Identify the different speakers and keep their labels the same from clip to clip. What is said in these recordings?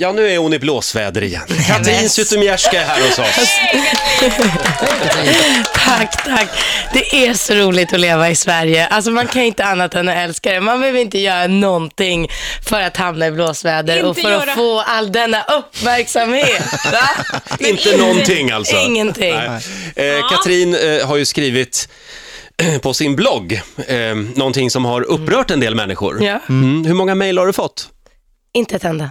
Speaker 1: Ja, nu är hon i blåsväder igen. Katrin Zytomierska är här hos oss.
Speaker 2: Tack, tack. Det är så roligt att leva i Sverige. Alltså man kan inte annat än att älska det. Man behöver inte göra någonting för att hamna i blåsväder
Speaker 3: Inte
Speaker 2: och för
Speaker 3: göra-
Speaker 2: att få all denna uppmärksamhet. Va? Men
Speaker 1: Inte någonting alltså.
Speaker 2: Ingenting.
Speaker 1: Nej. Eh, Katrin eh, har ju skrivit på sin blogg, eh, någonting som har upprört en del människor.
Speaker 2: Ja.
Speaker 1: Mm, hur många mejl har du fått?
Speaker 2: Inte ett enda.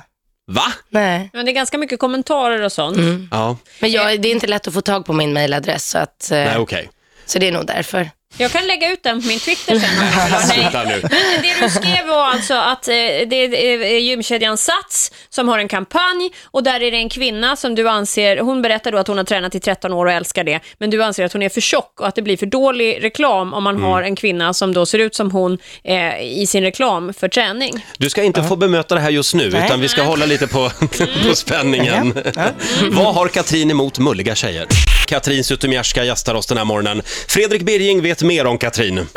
Speaker 1: Va?
Speaker 2: Nej.
Speaker 3: Men det är ganska mycket kommentarer och sånt.
Speaker 2: Mm.
Speaker 1: Ja,
Speaker 2: Men jag, det är inte lätt att få tag på min mailadress så, att, eh,
Speaker 1: nej okej.
Speaker 2: så det är nog därför.
Speaker 3: Jag kan lägga ut den på min Twitter sen. om du vill ha. Nej.
Speaker 1: Sluta nu.
Speaker 3: Men det du skrev var alltså att eh, det är eh, gymkedjan Sats som har en kampanj och där är det en kvinna som du anser, hon berättar då att hon har tränat i 13 år och älskar det, men du anser att hon är för tjock och att det blir för dålig reklam om man har en kvinna som då ser ut som hon eh, i sin reklam för träning.
Speaker 1: Du ska inte få bemöta det här just nu,
Speaker 2: Nej.
Speaker 1: utan vi ska hålla lite på, på spänningen. Vad har Katrin emot mulliga tjejer? Katrin Zytomierska gästar oss den här morgonen. Fredrik Birging vet mer om Katrin.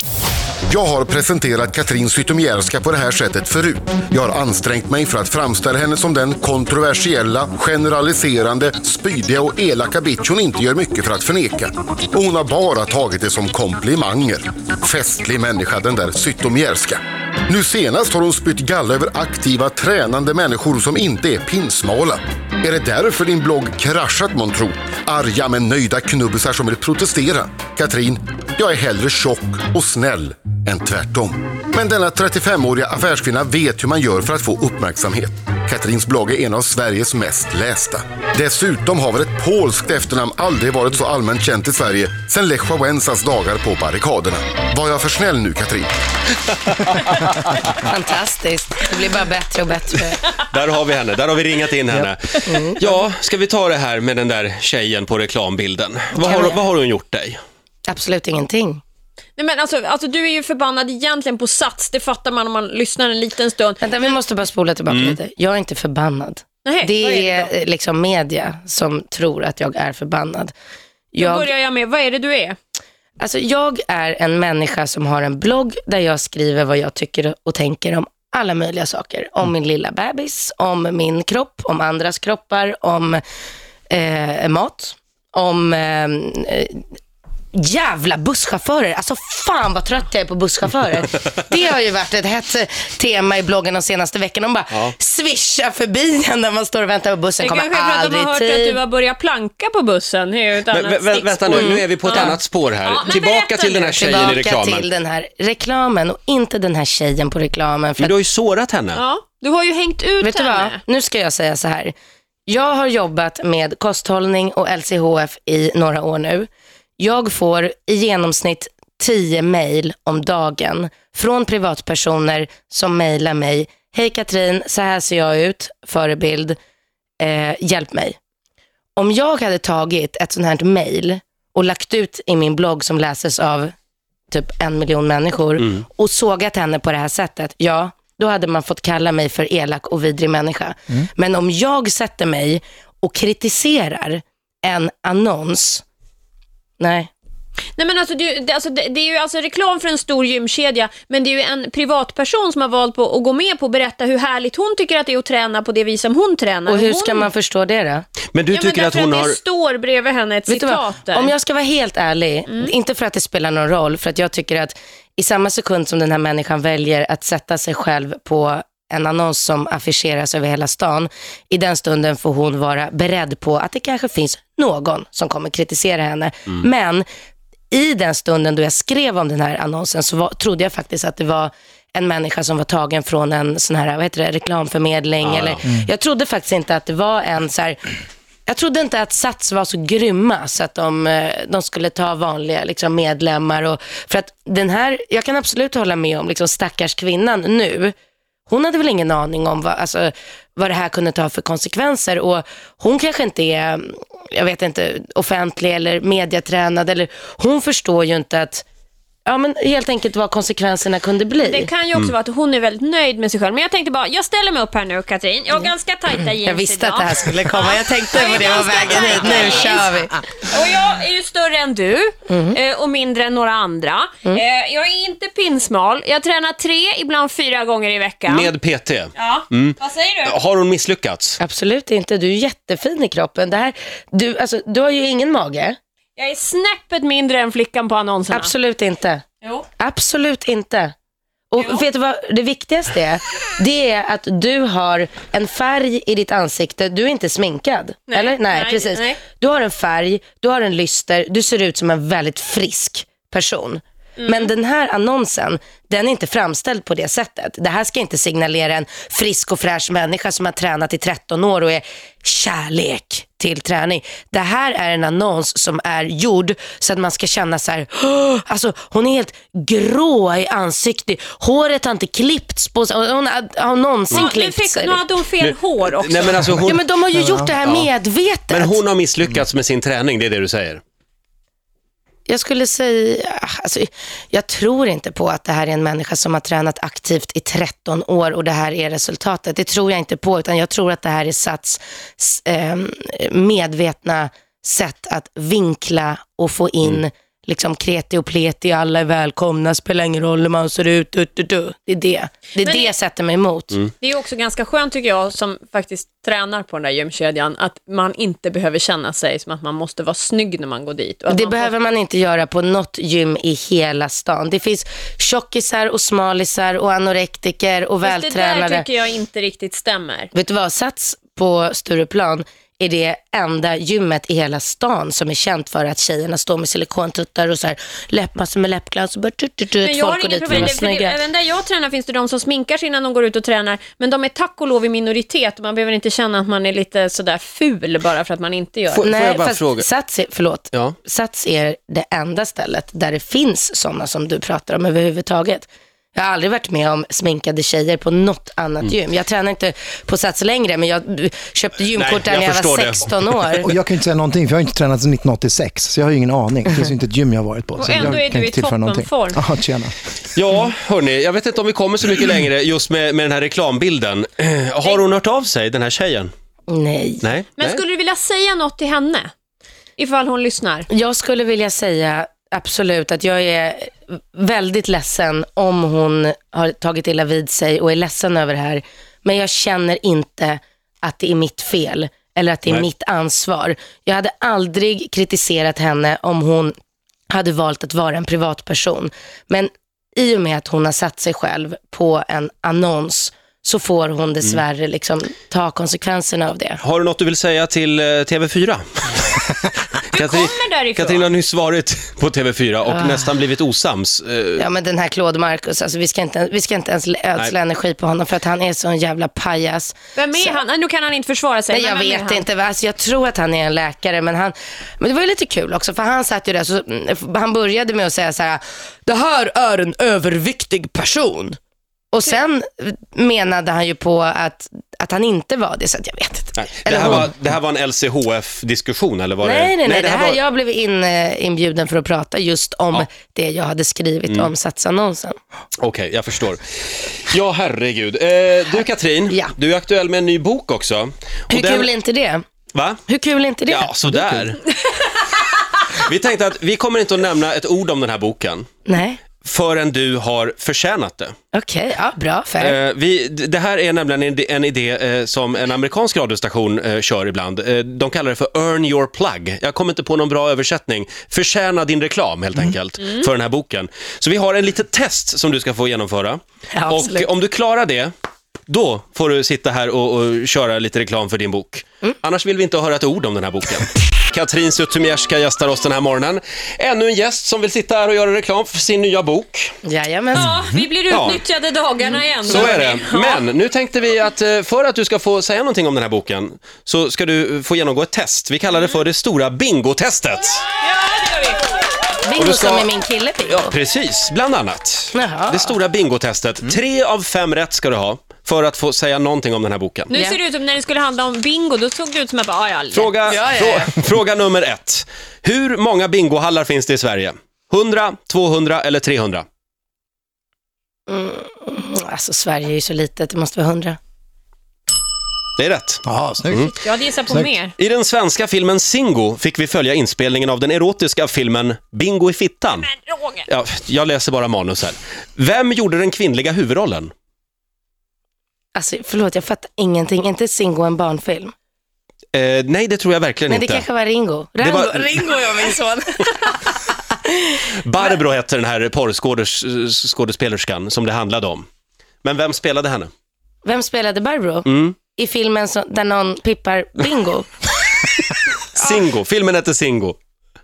Speaker 4: Jag har presenterat Katrin Zytomierska på det här sättet förut. Jag har ansträngt mig för att framställa henne som den kontroversiella, generaliserande, spydiga och elaka bitch hon inte gör mycket för att förneka. Och hon har bara tagit det som komplimanger. Festlig människa den där Zytomierska. Nu senast har hon spytt galla över aktiva, tränande människor som inte är pinsmala. Är det därför din blogg kraschat månntro? Arga men nöjda knubbisar som vill protestera. Katrin, jag är hellre tjock och snäll än tvärtom. Men denna 35-åriga affärskvinna vet hur man gör för att få uppmärksamhet. Katrins blogg är en av Sveriges mest lästa. Dessutom har väl ett polskt efternamn aldrig varit så allmänt känt i Sverige sedan Lech Wałęsas dagar på barrikaderna. Var jag för snäll nu, Katrin?
Speaker 2: Fantastiskt. Det blir bara bättre och bättre.
Speaker 1: Där har vi henne, där har vi ringat in henne. Ja, ska vi ta det här med den där tjejen på reklambilden? Vad har,
Speaker 2: vi?
Speaker 1: vad har hon gjort dig?
Speaker 2: Absolut ingenting.
Speaker 3: Nej men alltså, alltså du är ju förbannad egentligen på Sats, det fattar man om man lyssnar en liten stund.
Speaker 2: Vänta, vi måste bara spola tillbaka
Speaker 1: Mm.
Speaker 2: lite. Jag är inte förbannad.
Speaker 3: Nej, vad är
Speaker 2: det
Speaker 3: det
Speaker 2: är eh, liksom media som tror att jag är förbannad.
Speaker 3: Då
Speaker 2: Jag,
Speaker 3: börjar jag med, vad är det du är?
Speaker 2: alltså jag är en människa som har en blogg där jag skriver vad jag tycker och tänker om alla möjliga saker.
Speaker 3: Mm.
Speaker 2: Om min lilla bebis, om min kropp, om andras kroppar, om eh, mat, om eh, Jävla busschaufförer. Alltså fan vad trött jag är på busschaufförer. Det har ju varit ett hett tema i bloggen de senaste veckorna. De bara
Speaker 1: Ja.
Speaker 2: svischar förbi en när man står och väntar på bussen.
Speaker 3: Det
Speaker 2: Kommer
Speaker 3: kanske är för att de
Speaker 2: aldrig
Speaker 3: har
Speaker 2: i
Speaker 3: hört att
Speaker 2: tid.
Speaker 3: du har börjat planka på bussen. Det är ju ett
Speaker 1: Men,
Speaker 3: annat
Speaker 1: vä- vä- vänta nu,
Speaker 3: stickspår.
Speaker 1: nu är vi på ett
Speaker 3: Ja.
Speaker 1: annat spår här.
Speaker 3: Ja, men
Speaker 1: Tillbaka
Speaker 3: berätta
Speaker 1: till den
Speaker 3: nu.
Speaker 1: här tjejen i
Speaker 2: Tillbaka
Speaker 1: reklamen.
Speaker 2: till den här reklamen och inte den här tjejen på reklamen. För
Speaker 1: Men
Speaker 2: att,
Speaker 1: du har ju sårat henne.
Speaker 3: Ja, du har ju hängt ut
Speaker 2: vet du
Speaker 3: henne.
Speaker 2: vad? Nu ska jag säga så här. Jag har jobbat med kosthållning och LCHF i några år nu. Jag får i genomsnitt 10 mejl om dagen från privatpersoner som mejlar mig. Hej Katrin, så här ser jag ut, förebild, eh, hjälp mig. Om jag hade tagit ett sånt här mejl och lagt ut i min blogg som läses av typ en miljon människor och sågat henne på det här sättet, ja, då hade man fått kalla mig för elak och vidrig människa. Men om jag sätter mig och kritiserar en annons, nej.
Speaker 3: Nej, men alltså, det, det, alltså, det, det är ju alltså reklam för en stor gymkedja, men det är ju en privatperson som har valt på att gå med på att berätta hur härligt hon tycker att det är att träna på det vis som hon tränar.
Speaker 2: Och hur
Speaker 3: hon,
Speaker 2: ska man förstå det då?
Speaker 1: Men du
Speaker 3: ja, men
Speaker 1: tycker att
Speaker 3: därför
Speaker 1: hon
Speaker 3: att
Speaker 1: har...
Speaker 3: Det står bredvid henne ett
Speaker 2: Vet du vad?
Speaker 3: citat där.
Speaker 2: Om jag ska vara helt ärlig, inte för att det spelar någon roll, för att jag tycker att i samma sekund som den här människan väljer att sätta sig själv på en annons som affischeras över hela stan, i den stunden får hon vara beredd på att det kanske finns någon som kommer kritisera henne. Men i den stunden då jag skrev om den här annonsen så var, trodde jag faktiskt att det var en människa som var tagen från en sån här, vad heter det, reklamförmedling. eller, Jag trodde faktiskt inte att det var en så här, jag trodde inte att Sats var så grymma så att de, eh, de skulle ta vanliga liksom, medlemmar. Och, för att den här, jag kan absolut hålla med om liksom, stackars kvinnan nu. Hon hade väl ingen aning om vad, alltså, vad det här kunde ta för konsekvenser. Och hon kanske inte är, jag vet inte, offentlig eller mediatränad. Eller, hon förstår ju inte att ja, men helt enkelt vad konsekvenserna kunde bli.
Speaker 3: Det kan ju
Speaker 1: Mm.
Speaker 3: också vara att hon är väldigt nöjd med sig själv. Men jag tänkte bara, jag ställer mig upp här nu Katrin. Jag har ganska tajta jeans
Speaker 2: Mm. Jag visste
Speaker 3: idag.
Speaker 2: att det här skulle komma. Jag tänkte
Speaker 3: Ja,
Speaker 2: på det på
Speaker 3: ganska
Speaker 2: vägen hit.
Speaker 3: tajta
Speaker 2: Nu kör vi.
Speaker 3: Och jag är ju större än du eh, och mindre än några andra. Eh, Jag är inte pinsmal. Jag tränar tre, ibland fyra gånger i veckan.
Speaker 1: Med PT.
Speaker 3: Ja, vad säger du?
Speaker 1: Har hon misslyckats?
Speaker 2: Absolut inte. Du är jättefin i kroppen. Det här, du, alltså, du har ju ingen mage.
Speaker 3: Jag är snäppet mindre än flickan på annonserna.
Speaker 2: Absolut inte.
Speaker 3: Jo.
Speaker 2: Absolut inte. Och vet du vad det viktigaste är? Det är att du har en färg i ditt ansikte. Du är inte sminkad.
Speaker 3: Nej,
Speaker 2: eller? Nej,
Speaker 3: nej,
Speaker 2: precis.
Speaker 3: nej.
Speaker 2: Du har en färg, du har en lyster, du ser ut som en väldigt frisk person.
Speaker 3: Mm.
Speaker 2: Men den här annonsen, den är inte framställd på det sättet. Det här ska inte signalera en frisk och fräsch människa som har tränat i 13 år och är kärlek till träning. Det här är en annons som är gjord så att man ska känna så här, "Åh!" alltså hon är helt grå i ansiktet, håret har inte klippts på sig, hon har, har någonsin
Speaker 3: Ja, nu,
Speaker 2: klippt
Speaker 3: fick,
Speaker 2: sig.
Speaker 3: nu hade hon fel hår också.
Speaker 1: Nej, men alltså hon...
Speaker 2: Ja men de har ju gjort det här medvetet.
Speaker 1: Men hon har misslyckats med sin träning, det är det du säger?
Speaker 2: Jag skulle säga, alltså, jag tror inte på att det här är en människa som har tränat aktivt i 13 år och det här är resultatet. Det tror jag inte på, utan jag tror att det här är Sats s- ehm, medvetna sätt att vinkla och få in liksom kreti och pleti, alla är välkomna, spelar ingen roll hur man ser ut, du, du, du. Det är det. Det är
Speaker 3: Men-
Speaker 2: det jag sätter mig emot.
Speaker 3: Det är också ganska skönt tycker jag som faktiskt tränar på den där gymkedjan att man inte behöver känna sig som att man måste vara snygg när man går dit. Och att
Speaker 2: Det
Speaker 3: man
Speaker 2: behöver man inte göra på något gym i hela stan. Det finns tjockisar och smalisar och anorektiker och
Speaker 3: får... Fast Det där
Speaker 2: vältränade.
Speaker 3: tycker jag inte riktigt stämmer.
Speaker 2: Vet du vad, Sats på Stureplan är det enda gymmet i hela stan som är känt för att tjejerna står med silikontuttar och så här läppmassor med läppglans och bara tut, tut, tut,
Speaker 3: Men jag
Speaker 2: folk
Speaker 3: har
Speaker 2: går dit
Speaker 3: inga
Speaker 2: för att
Speaker 3: problem,
Speaker 2: vara
Speaker 3: det- för det,
Speaker 2: snygga.
Speaker 3: även där jag tränar finns det de som sminkar sig innan de går ut och tränar, men de är tack och lov i minoritet och man behöver inte känna att man är lite sådär ful bara för att man inte gör
Speaker 1: Får-
Speaker 3: det.
Speaker 1: får jag
Speaker 2: Nej,
Speaker 1: bara
Speaker 2: fast
Speaker 1: fråga?
Speaker 2: Sats är, förlåt,
Speaker 1: Ja.
Speaker 2: Sats är det enda stället där det finns sådana som du pratar om överhuvudtaget. Jag har aldrig varit med om sminkade tjejer på något annat
Speaker 1: Mm.
Speaker 2: gym. Jag tränar inte på Sats längre, men jag köpte gymkort där
Speaker 1: jag
Speaker 2: när jag
Speaker 1: förstår
Speaker 2: var
Speaker 1: det.
Speaker 2: 16 år.
Speaker 5: Och jag kan ju inte säga någonting för jag har inte tränat sedan 1986, så jag har ju ingen aning. Det finns ju inte ett gym jag har varit på.
Speaker 3: Och
Speaker 5: så jag
Speaker 3: ändå är
Speaker 5: kan
Speaker 3: du
Speaker 5: inte
Speaker 3: i
Speaker 5: tillföra någonting.
Speaker 3: toppenform.
Speaker 5: Ja, tjena.
Speaker 1: Ja, hörni, jag vet inte om vi kommer så mycket längre just med, med den här reklambilden. Eh, Har hon hört av sig, den här tjejen?
Speaker 2: Nej.
Speaker 1: Nej.
Speaker 3: Men
Speaker 1: Nej.
Speaker 3: skulle du vilja säga något till henne? Ifall hon lyssnar.
Speaker 2: Jag skulle vilja säga absolut att jag är väldigt ledsen om hon har tagit illa vid sig och är ledsen över det här. Men jag känner inte att det är mitt fel eller att det är
Speaker 1: Nej.
Speaker 2: mitt ansvar. Jag hade aldrig kritiserat henne om hon hade valt att vara en privatperson. Men i och med att hon har satt sig själv på en annons så får hon dessvärre liksom ta konsekvenserna av det.
Speaker 1: Har du något du vill säga till eh, TV4? Du
Speaker 3: kommer därifrån.
Speaker 1: Katrin har nyss varit på TV4 och
Speaker 2: Ah.
Speaker 1: nästan blivit osams. Eh,
Speaker 2: Ja men den här Claude Marcus, alltså, vi, ska inte, vi ska inte ens ödsla energi på honom för att han är så en jävla pajas.
Speaker 3: Vem är han? Nej, Nu kan han inte försvara sig.
Speaker 2: Nej,
Speaker 3: men
Speaker 2: jag
Speaker 3: vem är
Speaker 2: vet
Speaker 3: han?
Speaker 2: inte, alltså, jag tror att han är en läkare men, han, men det var ju lite kul också för han satt ju där, så, mm, han började med att säga så här, det här är en överviktig person. Och sen menade han ju på att, att han inte var det, så att jag vet inte.
Speaker 1: nej. Det,
Speaker 2: Eller
Speaker 1: här
Speaker 2: hon.
Speaker 1: var, det här var en LCHF-diskussion, eller var det?
Speaker 2: Nej, nej, nej. det här,
Speaker 1: var-
Speaker 2: Jag blev in, eh, inbjuden för att prata just om det jag hade skrivit
Speaker 1: Mm.
Speaker 2: om satsannonsen.
Speaker 1: Okej, jag förstår. Ja, herregud. Eh, du, Katrin,
Speaker 2: Ja.
Speaker 1: du är aktuell med en ny bok också. Och
Speaker 2: Hur
Speaker 1: den-
Speaker 2: kul är inte det?
Speaker 1: Va?
Speaker 2: Hur kul är inte det?
Speaker 1: Ja, sådär. Vi tänkte att vi kommer inte att nämna ett ord om den här boken
Speaker 2: Nej.
Speaker 1: förrän du har förtjänat det.
Speaker 2: Okej, ja, bra. Fair.
Speaker 1: Eh, vi, d- det här är nämligen en, en idé eh, som en amerikansk radiostation eh, kör ibland. Eh, de kallar det för Earn your plug. Jag kommer inte på någon bra översättning. Förtjäna din reklam
Speaker 2: Mm.
Speaker 1: helt enkelt för den här boken. Så vi har en litet test som du ska få genomföra.
Speaker 2: Ja,
Speaker 1: och
Speaker 2: absolut.
Speaker 1: eh, om du klarar det, då får du sitta här och, och köra lite reklam för din bok.
Speaker 2: Mm.
Speaker 1: Annars vill vi inte höra ett ord om den här boken. Katrin Zytomierska gästar oss den här morgonen. Ännu en gäst som vill sitta här och göra reklam för sin nya bok.
Speaker 2: Jajamän.
Speaker 3: Ja, vi blir
Speaker 1: Ja.
Speaker 3: utnyttjade dagarna igen.
Speaker 1: Så är det.
Speaker 3: Ja.
Speaker 1: Men nu tänkte vi att eh, för att du ska få säga någonting om den här boken så ska du eh, få genomgå ett test. Vi kallar det för det stora bingotestet.
Speaker 3: Ja, det gör vi.
Speaker 1: och
Speaker 2: Bingo
Speaker 1: du ska-
Speaker 2: som är min kille Bingo.
Speaker 1: Ja, precis. Bland annat.
Speaker 2: Jaha.
Speaker 1: Det stora bingotestet.
Speaker 3: Mm.
Speaker 1: Tre av fem rätt ska du ha för att få säga någonting om den här boken.
Speaker 3: Nu
Speaker 2: Ja.
Speaker 3: ser det ut som när det skulle handla om bingo, då såg det ut som att bara, ja, ja,
Speaker 1: Fråga, frå, fråga nummer ett. Hur många bingohallar finns det i Sverige? 100, 200 eller 300?
Speaker 2: Alltså Sverige är ju så litet, det måste vara 100.
Speaker 1: Det är rätt.
Speaker 5: Ja, snyggt.
Speaker 3: Jag hade gissat på
Speaker 5: Snyggt.
Speaker 3: mer.
Speaker 1: I den svenska filmen Singo fick vi följa inspelningen av den erotiska filmen Bingo i fittan.
Speaker 3: Men Roger.
Speaker 1: Ja, jag läser bara manus här. Vem gjorde den kvinnliga huvudrollen?
Speaker 2: Alltså förlåt, jag fattar ingenting. Är inte Singo en barnfilm?
Speaker 1: Eh, nej, det tror jag verkligen
Speaker 2: Nej, det
Speaker 1: inte.
Speaker 2: kanske var Ringo. Rango,
Speaker 1: var-
Speaker 2: Ringo jag min son.
Speaker 1: Barbro hette den här porrskådespelerskan som det handlade om. Men vem spelade henne?
Speaker 2: Ah. Vem spelade Barbro?
Speaker 1: Mm.
Speaker 2: I filmen som, där någon pippar Bingo.
Speaker 1: Singo, filmen hette
Speaker 2: Oh.
Speaker 1: Singo.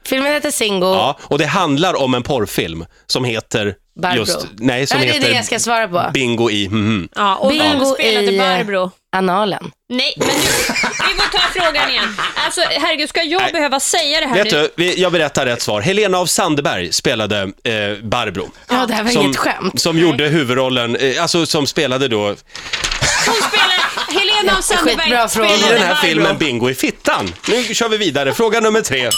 Speaker 2: Filmen heter Singo.
Speaker 1: Ja, och det handlar om en porrfilm som heter
Speaker 2: Barbro.
Speaker 1: just... Nej, som
Speaker 2: Nej, det är
Speaker 1: heter
Speaker 2: det jag ska svara på.
Speaker 1: Bingo i... mhm.
Speaker 3: Ja, och vem
Speaker 2: Bingo
Speaker 3: spelade
Speaker 2: i, eh,
Speaker 3: Barbro?
Speaker 2: Analen.
Speaker 3: Nej, men nu, vi får ta frågan igen. Alltså, herregud, ska jag
Speaker 1: Nej.
Speaker 3: behöva säga det här
Speaker 1: Vet
Speaker 3: nu?
Speaker 1: du, vi- jag berättar rätt svar. Helena av Sandberg spelade eh, Barbro.
Speaker 2: Ja, det här var inget skämt.
Speaker 1: som gjorde huvudrollen, eh, alltså som spelade då i
Speaker 3: Hon spelar, Helena av Sandberg
Speaker 2: Skitbra fråga.
Speaker 3: spelade
Speaker 2: I
Speaker 1: den här
Speaker 3: Barbro.
Speaker 1: filmen Bingo i fittan. Nu kör vi vidare, fråga nummer tre.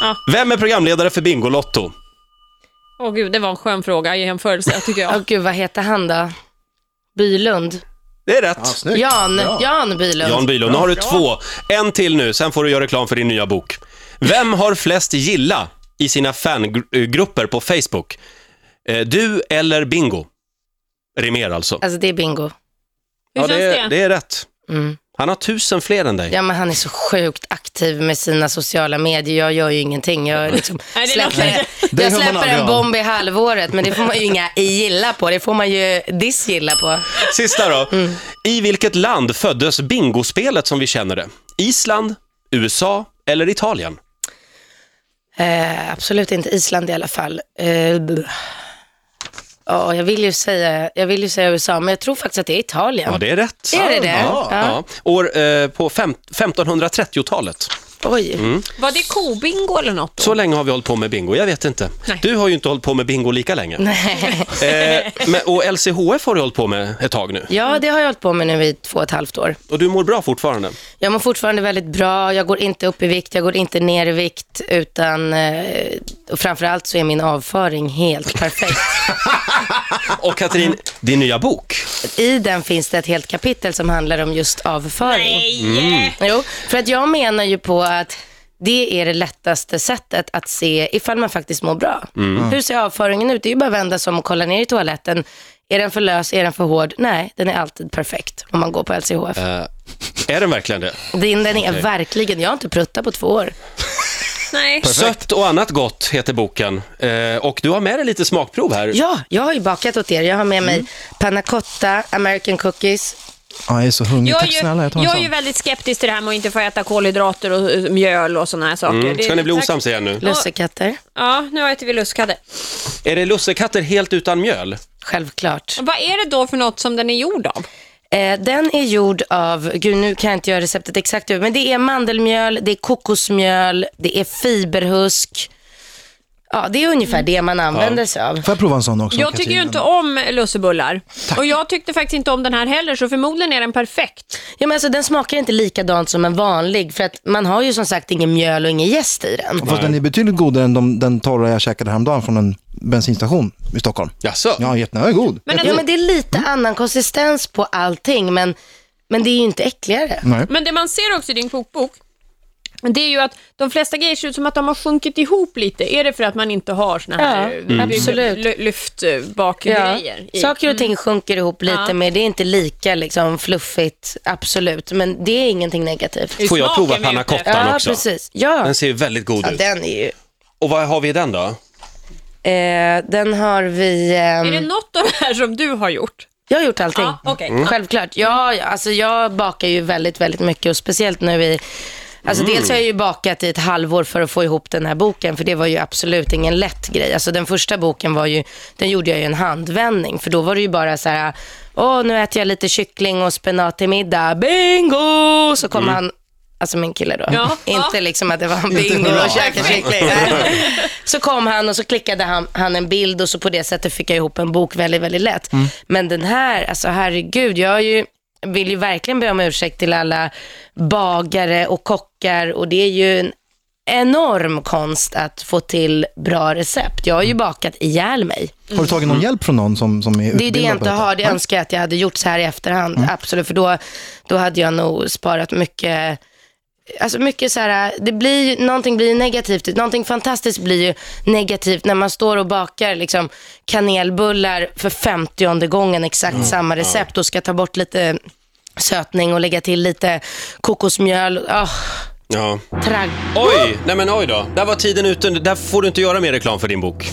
Speaker 3: Ja.
Speaker 1: Vem är programledare för Bingolotto?
Speaker 3: Åh gud, det var en skön fråga i jämförelse tycker
Speaker 2: Åh
Speaker 3: jag.
Speaker 2: gud, vad heter han då? Bylund.
Speaker 1: Det är rätt.
Speaker 5: Ja, snyggt.
Speaker 2: Jan,
Speaker 5: Bra.
Speaker 2: Jan Bylund.
Speaker 1: Jan Bylund, nu har du två. En till nu, sen får du göra reklam för din nya bok. Vem har flest gilla i sina fangrupper på Facebook? Eh, Du eller Bingo? Rimér alltså.
Speaker 2: Alltså det är Bingo.
Speaker 3: Hur
Speaker 1: ja,
Speaker 3: känns
Speaker 1: det, är-
Speaker 3: det?
Speaker 1: det är rätt.
Speaker 2: Mm.
Speaker 1: Han har tusen fler än dig.
Speaker 2: Ja, men han är så sjukt aktiv med sina sociala medier. Jag gör ju ingenting. Jag, liksom
Speaker 3: Nej, det
Speaker 2: släpper,
Speaker 3: låter-
Speaker 5: Det
Speaker 2: jag
Speaker 5: hör man
Speaker 2: släpper
Speaker 5: aldrig
Speaker 2: en
Speaker 5: av.
Speaker 2: bomb i halvåret, men det får man ju inga gilla på. Det får man ju disgilla på.
Speaker 1: Sista då. I vilket land föddes bingospelet som vi känner det? Island, USA eller Italien?
Speaker 2: Eh, absolut inte Island i alla fall. Eh, b- ja, jag, vill ju säga, jag vill ju säga USA, men jag tror faktiskt att det är Italien.
Speaker 1: Ja, det är rätt.
Speaker 2: Är det det?
Speaker 1: Ja.
Speaker 2: Ja.
Speaker 1: Ja. År eh, på fem- 1530-talet.
Speaker 2: Oj.
Speaker 5: Mm.
Speaker 3: Var det kobingo eller något?
Speaker 1: Så länge har vi hållit på med bingo, jag vet inte.
Speaker 3: Nej.
Speaker 1: Du har ju inte hållit på med bingo lika länge.
Speaker 2: Nej.
Speaker 1: Eh, men, och LCHF har du hållit på med ett tag nu.
Speaker 2: Ja, det har jag hållit på med nu i två och ett halvt år.
Speaker 1: Och du mår bra fortfarande.
Speaker 2: Jag mår fortfarande väldigt bra, jag går inte upp i vikt, jag går inte ner i vikt, utan eh, och framförallt så är min avföring helt perfekt.
Speaker 1: Och Katrin, din nya bok.
Speaker 2: I den finns det ett helt kapitel som handlar om just avföring.
Speaker 3: Nej!
Speaker 2: Jo, för att jag menar ju på att det är det lättaste sättet att se ifall man faktiskt mår bra. Hur ser avföringen ut? Det är ju bara att vända sig om och kolla ner i toaletten. Är den för lös? Är den för hård? Nej, den är alltid perfekt om man går på LCHF.
Speaker 1: Är den verkligen det?
Speaker 2: Din, den är verkligen, jag har inte pruttat på två år.
Speaker 3: Nej.
Speaker 1: Sött och annat gott heter boken. Eh, och du har med dig lite smakprov här.
Speaker 2: Ja, jag har ju bakat åt er. Jag har med mig panna cotta, American cookies.
Speaker 5: Ja, jag är så hungrig.
Speaker 3: Jag är,
Speaker 5: Tack
Speaker 3: ju,
Speaker 5: snälla, jag tar en
Speaker 3: jag är ju
Speaker 5: sån.
Speaker 3: väldigt skeptisk till det här med att inte få äta kolhydrater och eh, mjöl och sådana här saker.
Speaker 1: Mm. Ska
Speaker 3: Det-
Speaker 1: ni bli
Speaker 3: tack-
Speaker 1: osams igen nu?
Speaker 2: Lussekatter,
Speaker 3: Ja, nu äter vi lusskadde.
Speaker 1: Är det lussekatter helt utan mjöl?
Speaker 2: självklart.
Speaker 3: Vad är det då för något som den är gjord av?
Speaker 2: Eh, den är gjord av, gud nu kan jag inte göra receptet exakt ut, men det är mandelmjöl, det är kokosmjöl, det är fiberhusk. Ja, det är ungefär det man använder sig av.
Speaker 5: Får jag prova en sån också?
Speaker 3: Jag tycker ju
Speaker 5: Katrin?
Speaker 3: inte om lussebullar. Och jag tyckte faktiskt inte om den här heller, så förmodligen är den perfekt.
Speaker 2: Ja, men alltså, den smakar inte likadant som en vanlig, för att man har ju som sagt ingen mjöl och ingen jäst i den.
Speaker 5: Fast den är betydligt godare än de, den torra jag käkade häromdagen från en bensinstation i Stockholm.
Speaker 1: Jaså?
Speaker 5: Ja, jätten är god.
Speaker 3: Men, alltså-
Speaker 2: Ja, men det är lite annan konsistens på allting, men, men det är ju inte äckligare.
Speaker 5: Nej.
Speaker 3: men det man ser också i din kokbok, det är ju att de flesta grejer ser ut som att de har sjunkit ihop lite. Är det för att man inte har såna här
Speaker 2: Ja,
Speaker 3: eh,
Speaker 2: mm.
Speaker 3: ly-
Speaker 2: absolut.
Speaker 3: ly- lyftbakgrejer? i? Mm.
Speaker 2: Saker och ting sjunker ihop lite
Speaker 3: Ja.
Speaker 2: mer. Det är inte lika liksom, fluffigt, absolut. Men det är ingenting negativt.
Speaker 3: I
Speaker 1: Får jag
Speaker 3: smaken
Speaker 1: prova
Speaker 3: vi är ute
Speaker 1: panna
Speaker 3: efter.
Speaker 1: cottan också?
Speaker 2: precis. Ja.
Speaker 1: Den ser ju väldigt god
Speaker 2: ja,
Speaker 1: ut.
Speaker 2: den är ju...
Speaker 1: Och vad har vi i den då?
Speaker 2: Eh, den har vi... ehm,
Speaker 3: Är det något av det här som du har gjort?
Speaker 2: Jag har gjort allting.
Speaker 3: Ja, okej.
Speaker 2: Självklart. Ja, ja, alltså jag bakar ju väldigt, väldigt mycket och speciellt nu i... Alltså
Speaker 3: Mm.
Speaker 2: Dels har jag ju bakat i ett halvår för att få ihop den här boken, för det var ju absolut ingen lätt grej. Alltså den första boken var ju, den gjorde jag ju en handvändning, för då var det ju bara så här, åh nu äter jag lite kyckling och spenat till middag, bingo! Så kom han, alltså min kille då,
Speaker 3: Mm. Ja,
Speaker 2: inte
Speaker 3: ja.
Speaker 2: liksom att det var en bingo
Speaker 5: hurra.
Speaker 2: och käka kyckling. Så kom han och så klickade han, han en bild och så på det sättet fick jag ihop en bok väldigt, väldigt lätt. Men den här, alltså herregud, jag har ju, vill ju verkligen be om ursäkt till alla bagare och kockar och det är ju en enorm konst att få till bra recept. Jag har ju bakat ihjäl mig.
Speaker 5: Har du tagit någon hjälp från någon som, som är
Speaker 2: Det är det jag Mm.
Speaker 5: utbildad på
Speaker 2: inte
Speaker 5: detta?
Speaker 2: har. Det önskar jag att jag hade gjort så här i efterhand. Absolut, för då, då hade jag nog sparat mycket Alltså mycket så här, det blir, ju- någonting blir ju negativt. Någonting fantastiskt blir ju negativt när man står och bakar liksom, kanelbullar för femtionde gången exakt samma recept och ska ta bort lite sötning och lägga till lite kokosmjöl. Åh,
Speaker 1: Ja.
Speaker 2: tragg.
Speaker 1: Oj, nej men oj då. Där var tiden ute. Där får du inte göra mer reklam för din bok.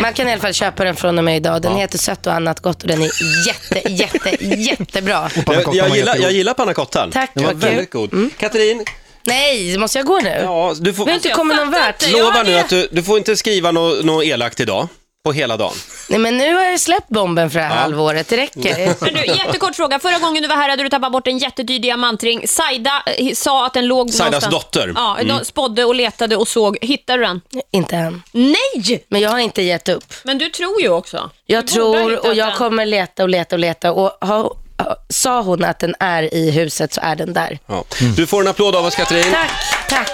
Speaker 2: Man kan i alla fall köpa den från och med idag. Den heter Sött och annat gott och den är jätte, jätte, jättebra.
Speaker 1: Jag,
Speaker 5: Pannacottan
Speaker 1: jag, gillar,
Speaker 5: var jättegod.
Speaker 1: jag gillar pannacottan.
Speaker 2: Tack,
Speaker 1: Den var
Speaker 2: vad kul. Mm.
Speaker 1: väldigt god. Katrin,
Speaker 2: Nej, måste jag gå nu?
Speaker 1: ja, du får,
Speaker 2: Vi har inte
Speaker 3: Alltså, Jag
Speaker 2: kommit någon
Speaker 3: fattar
Speaker 2: vart.
Speaker 3: inte.
Speaker 1: lova
Speaker 3: jag
Speaker 1: nu
Speaker 3: är-
Speaker 1: att du, du får inte skriva något nå elakt idag. På hela dagen.
Speaker 2: Nej, men nu har jag släppt bomben för det här halvåret. Det räcker.
Speaker 3: Men du, jättekort fråga. Förra gången du var här hade du tappat bort en jättedyr diamantring. Saida eh, sa att den låg
Speaker 1: Saidas
Speaker 3: någonstans.
Speaker 1: dotter. Mm.
Speaker 3: Ja, de spådde och letade och såg. Hittade du den?
Speaker 2: inte än.
Speaker 3: Nej!
Speaker 2: Men jag har inte gett upp.
Speaker 3: Men du tror ju också.
Speaker 2: Jag
Speaker 3: Du borde ha
Speaker 2: tror
Speaker 3: hittat
Speaker 2: och jag
Speaker 3: den.
Speaker 2: kommer leta och leta och leta. Och ha, ha, sa hon att den är i huset så är den där.
Speaker 1: Mm. Ja. Du får en applåd av oss Katrin.
Speaker 2: Tack, tack.